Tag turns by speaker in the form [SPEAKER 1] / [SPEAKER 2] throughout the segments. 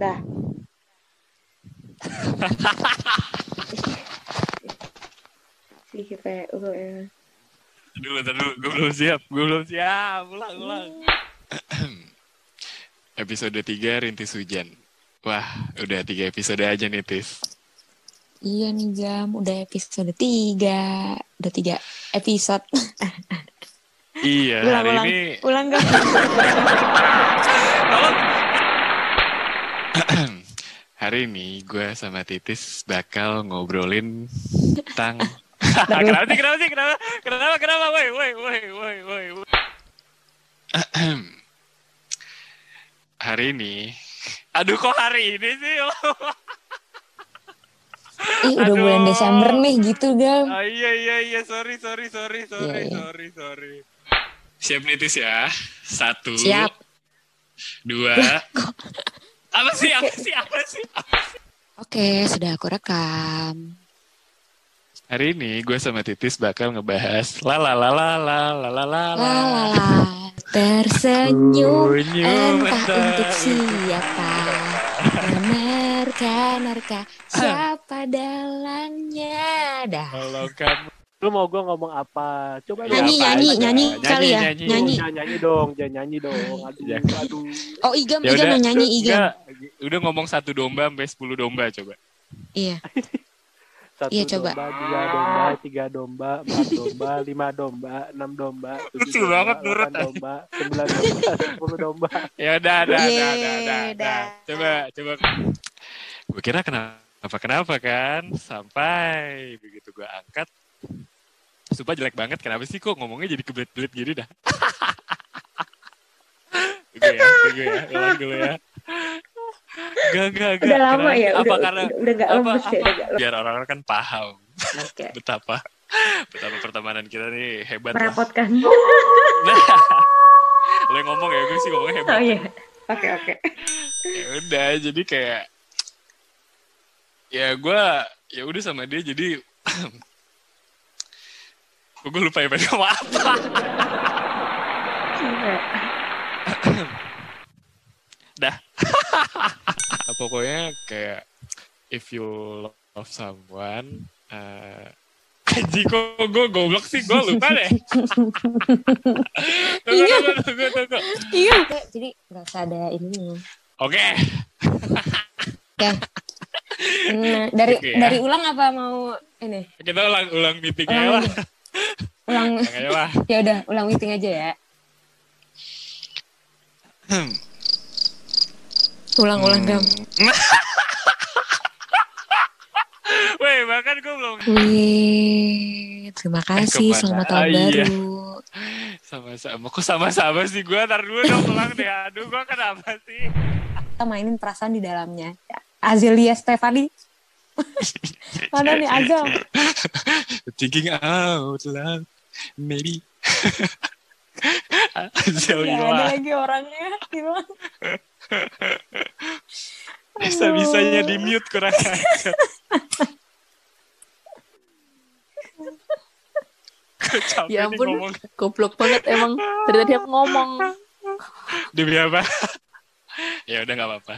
[SPEAKER 1] Dah. Si GPU ya.
[SPEAKER 2] Aduh, bentar dulu. Gue belum siap. Gue belum siap. Ulang, ulang. episode 3, Rintis Hujan. Wah, udah tiga episode aja nih, Tis.
[SPEAKER 3] Iya nih jam, udah episode 3. Udah 3 episode. ulang,
[SPEAKER 2] Iya, Eh, hari
[SPEAKER 3] ulang.
[SPEAKER 2] ini...
[SPEAKER 3] Ulang gak?
[SPEAKER 2] hari ini gue sama Titis bakal ngobrolin tentang...
[SPEAKER 3] Bentar dulu.
[SPEAKER 2] Ah, kenapa sih, kenapa sih, kenapa? Kenapa, kenapa, woi, woi, woi, woi, woi, woi. hari ini... Aduh, kok hari ini sih?
[SPEAKER 3] Ih, udah
[SPEAKER 2] Aduh.
[SPEAKER 3] bulan Desember nih gitu, Gam.
[SPEAKER 2] Ah, iya iya iya sorry sorry sorry sorry
[SPEAKER 3] Iya, iya.
[SPEAKER 2] sorry sorry. Siap nitis ya. Satu.
[SPEAKER 3] Siap.
[SPEAKER 2] Dua. apa sih apa sih apa sih?
[SPEAKER 3] Oke, sudah aku rekam.
[SPEAKER 2] Hari ini gue sama Titis bakal ngebahas la la la la la la la la la.
[SPEAKER 3] Lalala, tersenyum.
[SPEAKER 2] Senyum
[SPEAKER 3] Entah untuk
[SPEAKER 2] entah.
[SPEAKER 3] siapa.
[SPEAKER 2] Ah.
[SPEAKER 3] Menerka-nerka, siapa dalangnya. Dah.
[SPEAKER 2] Kalau kamu
[SPEAKER 4] Lu mau gue ngomong apa? Coba lu
[SPEAKER 3] Nyanyi,
[SPEAKER 4] apa
[SPEAKER 3] nyanyi,
[SPEAKER 4] aja.
[SPEAKER 3] nyanyi
[SPEAKER 2] Nyanyi,
[SPEAKER 3] kali ya.
[SPEAKER 2] nyanyi.
[SPEAKER 3] Nyanyi. Iya.
[SPEAKER 4] Jangan nyanyi dong, jangan nyanyi dong. Aduh,
[SPEAKER 2] Jangan.
[SPEAKER 4] aduh.
[SPEAKER 3] Oh, Igam,
[SPEAKER 2] Ya
[SPEAKER 3] Igam
[SPEAKER 2] udah,
[SPEAKER 3] yang nyanyi, Igam.
[SPEAKER 2] udah, udah ngomong satu domba sampai sepuluh domba coba.
[SPEAKER 3] Iya.
[SPEAKER 4] Satu
[SPEAKER 3] Iya, coba.
[SPEAKER 4] domba, dua domba, tiga domba, empat domba, lima domba, enam domba, tujuh
[SPEAKER 2] Lucu
[SPEAKER 4] domba,
[SPEAKER 2] banget, Nurut.
[SPEAKER 4] delapan domba, sembilan domba, sepuluh domba.
[SPEAKER 2] Ya udah, udah, udah,
[SPEAKER 3] Yeay,
[SPEAKER 2] udah, udah, udah.
[SPEAKER 3] dah.
[SPEAKER 2] Coba, coba. Gue kira kenapa kenapa kan sampai begitu gue angkat. Sumpah jelek banget. Kenapa sih kok ngomongnya jadi kebelit-belit gini dah? gue ya, gue ya, ulang dulu ya. Gak, gak, gak.
[SPEAKER 1] Udah lama
[SPEAKER 2] Kenapa-
[SPEAKER 1] ya,
[SPEAKER 2] Apa
[SPEAKER 1] udah
[SPEAKER 2] karena
[SPEAKER 1] udah- udah nggak
[SPEAKER 2] apa,
[SPEAKER 1] lemes ya,
[SPEAKER 2] apa?
[SPEAKER 1] udah nggak lemes.
[SPEAKER 2] biar orang-orang kan paham
[SPEAKER 1] Oke.
[SPEAKER 2] betapa betapa pertemanan kita nih hebat lah.
[SPEAKER 1] Merepotkan.
[SPEAKER 3] Oh,
[SPEAKER 2] Nah, lo yang ngomong ya gue sih ngomongnya hebat.
[SPEAKER 1] Oh iya. Oke oke.
[SPEAKER 2] ya udah jadi kayak ya gue ya udah sama dia jadi gue lupa ya pengen ngomong apa
[SPEAKER 1] Gila.
[SPEAKER 2] dah Nah, pokoknya kayak if you love someone eh anjing kok gue goblok sih gue lupa deh tunggu
[SPEAKER 3] Iya.
[SPEAKER 2] tunggu tunggu tunggu
[SPEAKER 3] Iya. Jadi gak usah ada ini.
[SPEAKER 2] oke
[SPEAKER 3] Nah, dari
[SPEAKER 2] Oke, ya.
[SPEAKER 3] dari ulang apa mau ini?
[SPEAKER 2] kita ulang ulang meetingnya
[SPEAKER 3] Ulang
[SPEAKER 2] lah
[SPEAKER 3] Ulang
[SPEAKER 2] Ulang aja lah
[SPEAKER 3] ya udah ulang meeting aja ya.
[SPEAKER 2] Hmm.
[SPEAKER 3] Ulang ulang gam.
[SPEAKER 2] Weh, bahkan gue belum
[SPEAKER 3] Wih, terima kasih.
[SPEAKER 2] kepada-
[SPEAKER 3] Selamat tahun
[SPEAKER 2] oh, Eh, iya.
[SPEAKER 3] baru.
[SPEAKER 2] sama-sama. Kok sama-sama sih gue? Ntar dulu dong pulang deh. Aduh, gue kenapa sih?
[SPEAKER 3] Kita mainin perasaan di dalamnya. Azelia Stefani. Mana nih Azam?
[SPEAKER 2] Thinking out loud, maybe. Jauh
[SPEAKER 3] Gak Ya, ada lagi orangnya. hilang.
[SPEAKER 2] Bisa-bisanya di mute kurang ajar. Gua capek
[SPEAKER 5] Ya
[SPEAKER 2] nih
[SPEAKER 5] ampun.
[SPEAKER 2] ngomong.
[SPEAKER 5] Goblok banget emang dari tadi aku ngomong.
[SPEAKER 2] Demi apa? ya udah gak apa-apa.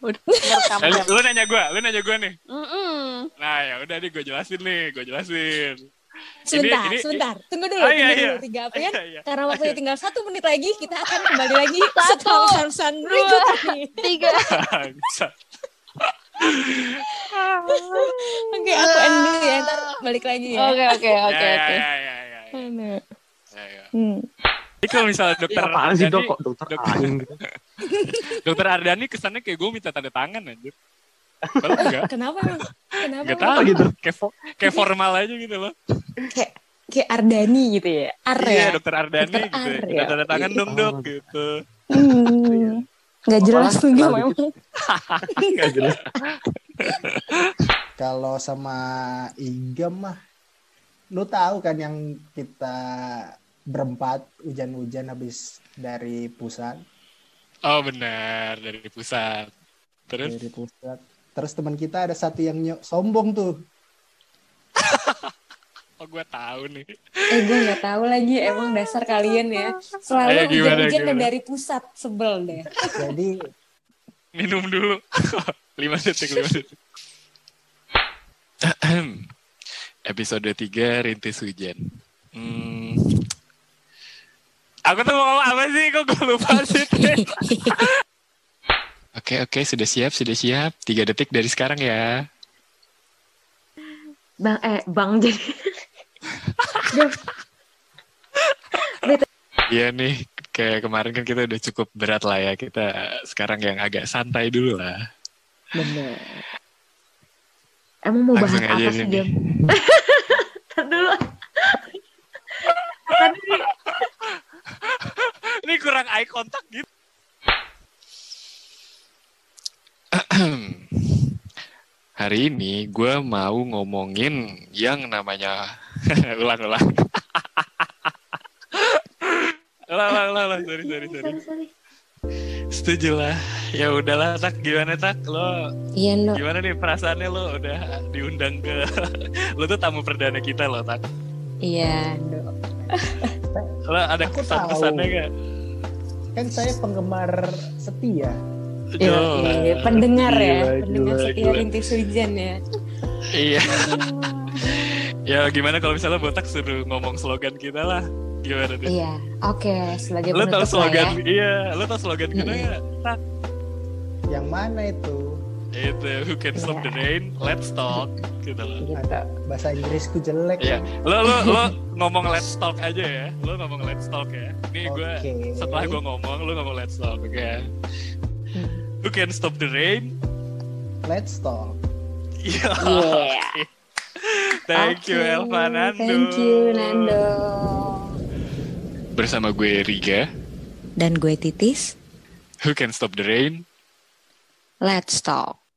[SPEAKER 5] Udah ngerekam.
[SPEAKER 2] Eh, Lu nanya gue, lu nanya gue nih.
[SPEAKER 5] Mm-mm.
[SPEAKER 2] Nah ya udah nih gue jelasin nih, gue jelasin.
[SPEAKER 3] Sebentar,
[SPEAKER 2] ini-
[SPEAKER 3] sebentar. Tunggu dulu.
[SPEAKER 2] Ah,
[SPEAKER 3] tunggu
[SPEAKER 2] iya,
[SPEAKER 3] dulu.
[SPEAKER 2] iya.
[SPEAKER 3] Tiga ya? apaan?
[SPEAKER 2] Iya, iya.
[SPEAKER 3] Karena waktunya tinggal satu menit lagi, kita akan kembali lagi
[SPEAKER 5] Satu,
[SPEAKER 3] setelah pesan-pesan
[SPEAKER 2] Iya.
[SPEAKER 3] berikut ini.
[SPEAKER 5] Tiga.
[SPEAKER 2] Bangsat.
[SPEAKER 3] Oke, aku end dulu ya, ntar balik lagi ya.
[SPEAKER 5] Oke oke oke
[SPEAKER 2] Ya,
[SPEAKER 5] oke.
[SPEAKER 2] ya, ya, ya, ya.
[SPEAKER 3] Aduh.
[SPEAKER 2] Ya, ya.
[SPEAKER 3] Hmm.
[SPEAKER 2] Jadi kalau misalnya dokter
[SPEAKER 4] Apaan sih dok?
[SPEAKER 2] Ardhani-
[SPEAKER 4] Kok dokter
[SPEAKER 2] Dok-
[SPEAKER 4] aing gitu?
[SPEAKER 2] dokter Ardhani kesannya kayak gue minta tanda tangan anjir. Padahal enggak.
[SPEAKER 3] Kenapa? Bang? Kenapa?
[SPEAKER 2] Enggak
[SPEAKER 3] Bang?
[SPEAKER 2] tahu
[SPEAKER 4] gitu?
[SPEAKER 2] gitu. Kayak, fo- kayak formal aja gitu loh.
[SPEAKER 3] Kayak Ardani gitu ya. Ar
[SPEAKER 2] Iya,
[SPEAKER 3] ya.
[SPEAKER 2] dokter Ardhani
[SPEAKER 3] Dokter
[SPEAKER 2] gitu.
[SPEAKER 3] Ar,
[SPEAKER 2] Minta
[SPEAKER 3] ya.
[SPEAKER 2] tanda tangan dong, Dok
[SPEAKER 4] Ah.
[SPEAKER 2] gitu. Iya.
[SPEAKER 3] Hmm. Gak jelas tuh gak memang.
[SPEAKER 4] Gak jelas.
[SPEAKER 6] Kalau sama Igam mah lu tahu kan yang kita berempat hujan-hujan habis dari pusat
[SPEAKER 2] Oh benar dari pusat. Terus
[SPEAKER 6] dari pusat terus teman kita ada satu yang nyo- sombong tuh
[SPEAKER 4] Iya.
[SPEAKER 2] oh gue tahu nih.
[SPEAKER 3] Eh gue nggak tahu lagi emang dasar kalian ya
[SPEAKER 2] Ayo,
[SPEAKER 3] selalu
[SPEAKER 2] gimana,
[SPEAKER 3] hujan-hujan dan
[SPEAKER 2] gimana?
[SPEAKER 3] dari pusat sebel deh.
[SPEAKER 6] jadi
[SPEAKER 2] Minum dulu. 5 detik, 5 detik. Ahem. Episode 3 Rintis Hujan. Hmm. Aku tuh mau ngomong apa sih? Kok gue lupa sih? Tes? Oke, oke. Sudah siap, sudah siap. 3 detik dari sekarang ya.
[SPEAKER 1] Bang eh bang jadi. Duh,
[SPEAKER 2] Iya nih. Kayak kemarin kan kita udah cukup berat lah ya. Kita sekarang yang agak santai dulu lah.
[SPEAKER 1] bener. Emang mau bahas
[SPEAKER 2] Langsung
[SPEAKER 1] apa
[SPEAKER 2] aja
[SPEAKER 1] sih
[SPEAKER 2] sih
[SPEAKER 1] jam?
[SPEAKER 2] nih.
[SPEAKER 1] Ntar dulu.
[SPEAKER 2] Ini kurang eye contact gitu. Hari ini gue mau ngomongin yang namanya ulang ulang. ulang ulang ulang, ulang. sorry sorry sorry.
[SPEAKER 1] Sorry, sorry.
[SPEAKER 2] Setuju lah. Ya udahlah tak gimana tak lo
[SPEAKER 3] Iya no.
[SPEAKER 2] gimana nih perasaannya lo udah diundang ke lo tuh tamu perdana kita lo tak
[SPEAKER 3] Iya no.
[SPEAKER 2] lo ada
[SPEAKER 6] Aku
[SPEAKER 2] kesan
[SPEAKER 6] tahu.
[SPEAKER 2] kesannya gak?
[SPEAKER 6] kan saya penggemar setia
[SPEAKER 3] Iya, iya. pendengar ya,
[SPEAKER 4] Gila,
[SPEAKER 3] pendengar
[SPEAKER 2] gila,
[SPEAKER 3] setia
[SPEAKER 2] gila.
[SPEAKER 3] rintis hujan ya.
[SPEAKER 2] Iya. ya gimana kalau misalnya botak suruh ngomong slogan kita lah. Gimana deh?
[SPEAKER 3] Iya, oke sebagai
[SPEAKER 2] Lo
[SPEAKER 3] penutup lah ya.
[SPEAKER 2] tau
[SPEAKER 3] Iya.
[SPEAKER 2] slogan? Iya, lo tau slogan kita
[SPEAKER 3] Mm-mm.
[SPEAKER 2] nggak? Tak.
[SPEAKER 6] yang mana itu
[SPEAKER 2] Itu who can stop
[SPEAKER 3] Iya.
[SPEAKER 2] the rain? Let's talk. Gitu loh.
[SPEAKER 6] Ada bahasa Inggrisku jelek
[SPEAKER 2] Iya. Lo lo lo ngomong let's talk aja ya. Lo ngomong let's talk ya. Ini gue setelah gue ngomong, lo ngomong let's talk. Oke. ya?
[SPEAKER 3] Hmm.
[SPEAKER 2] Who can stop the rain?
[SPEAKER 6] let's talk
[SPEAKER 2] Iya.
[SPEAKER 3] Iya.
[SPEAKER 2] Thank you
[SPEAKER 3] Oke,
[SPEAKER 2] Elva Nando.
[SPEAKER 3] Thank you Nando.
[SPEAKER 2] Bersama gue Riga.
[SPEAKER 3] Dan gue Titis.
[SPEAKER 2] Who can stop the rain?
[SPEAKER 3] Let's talk.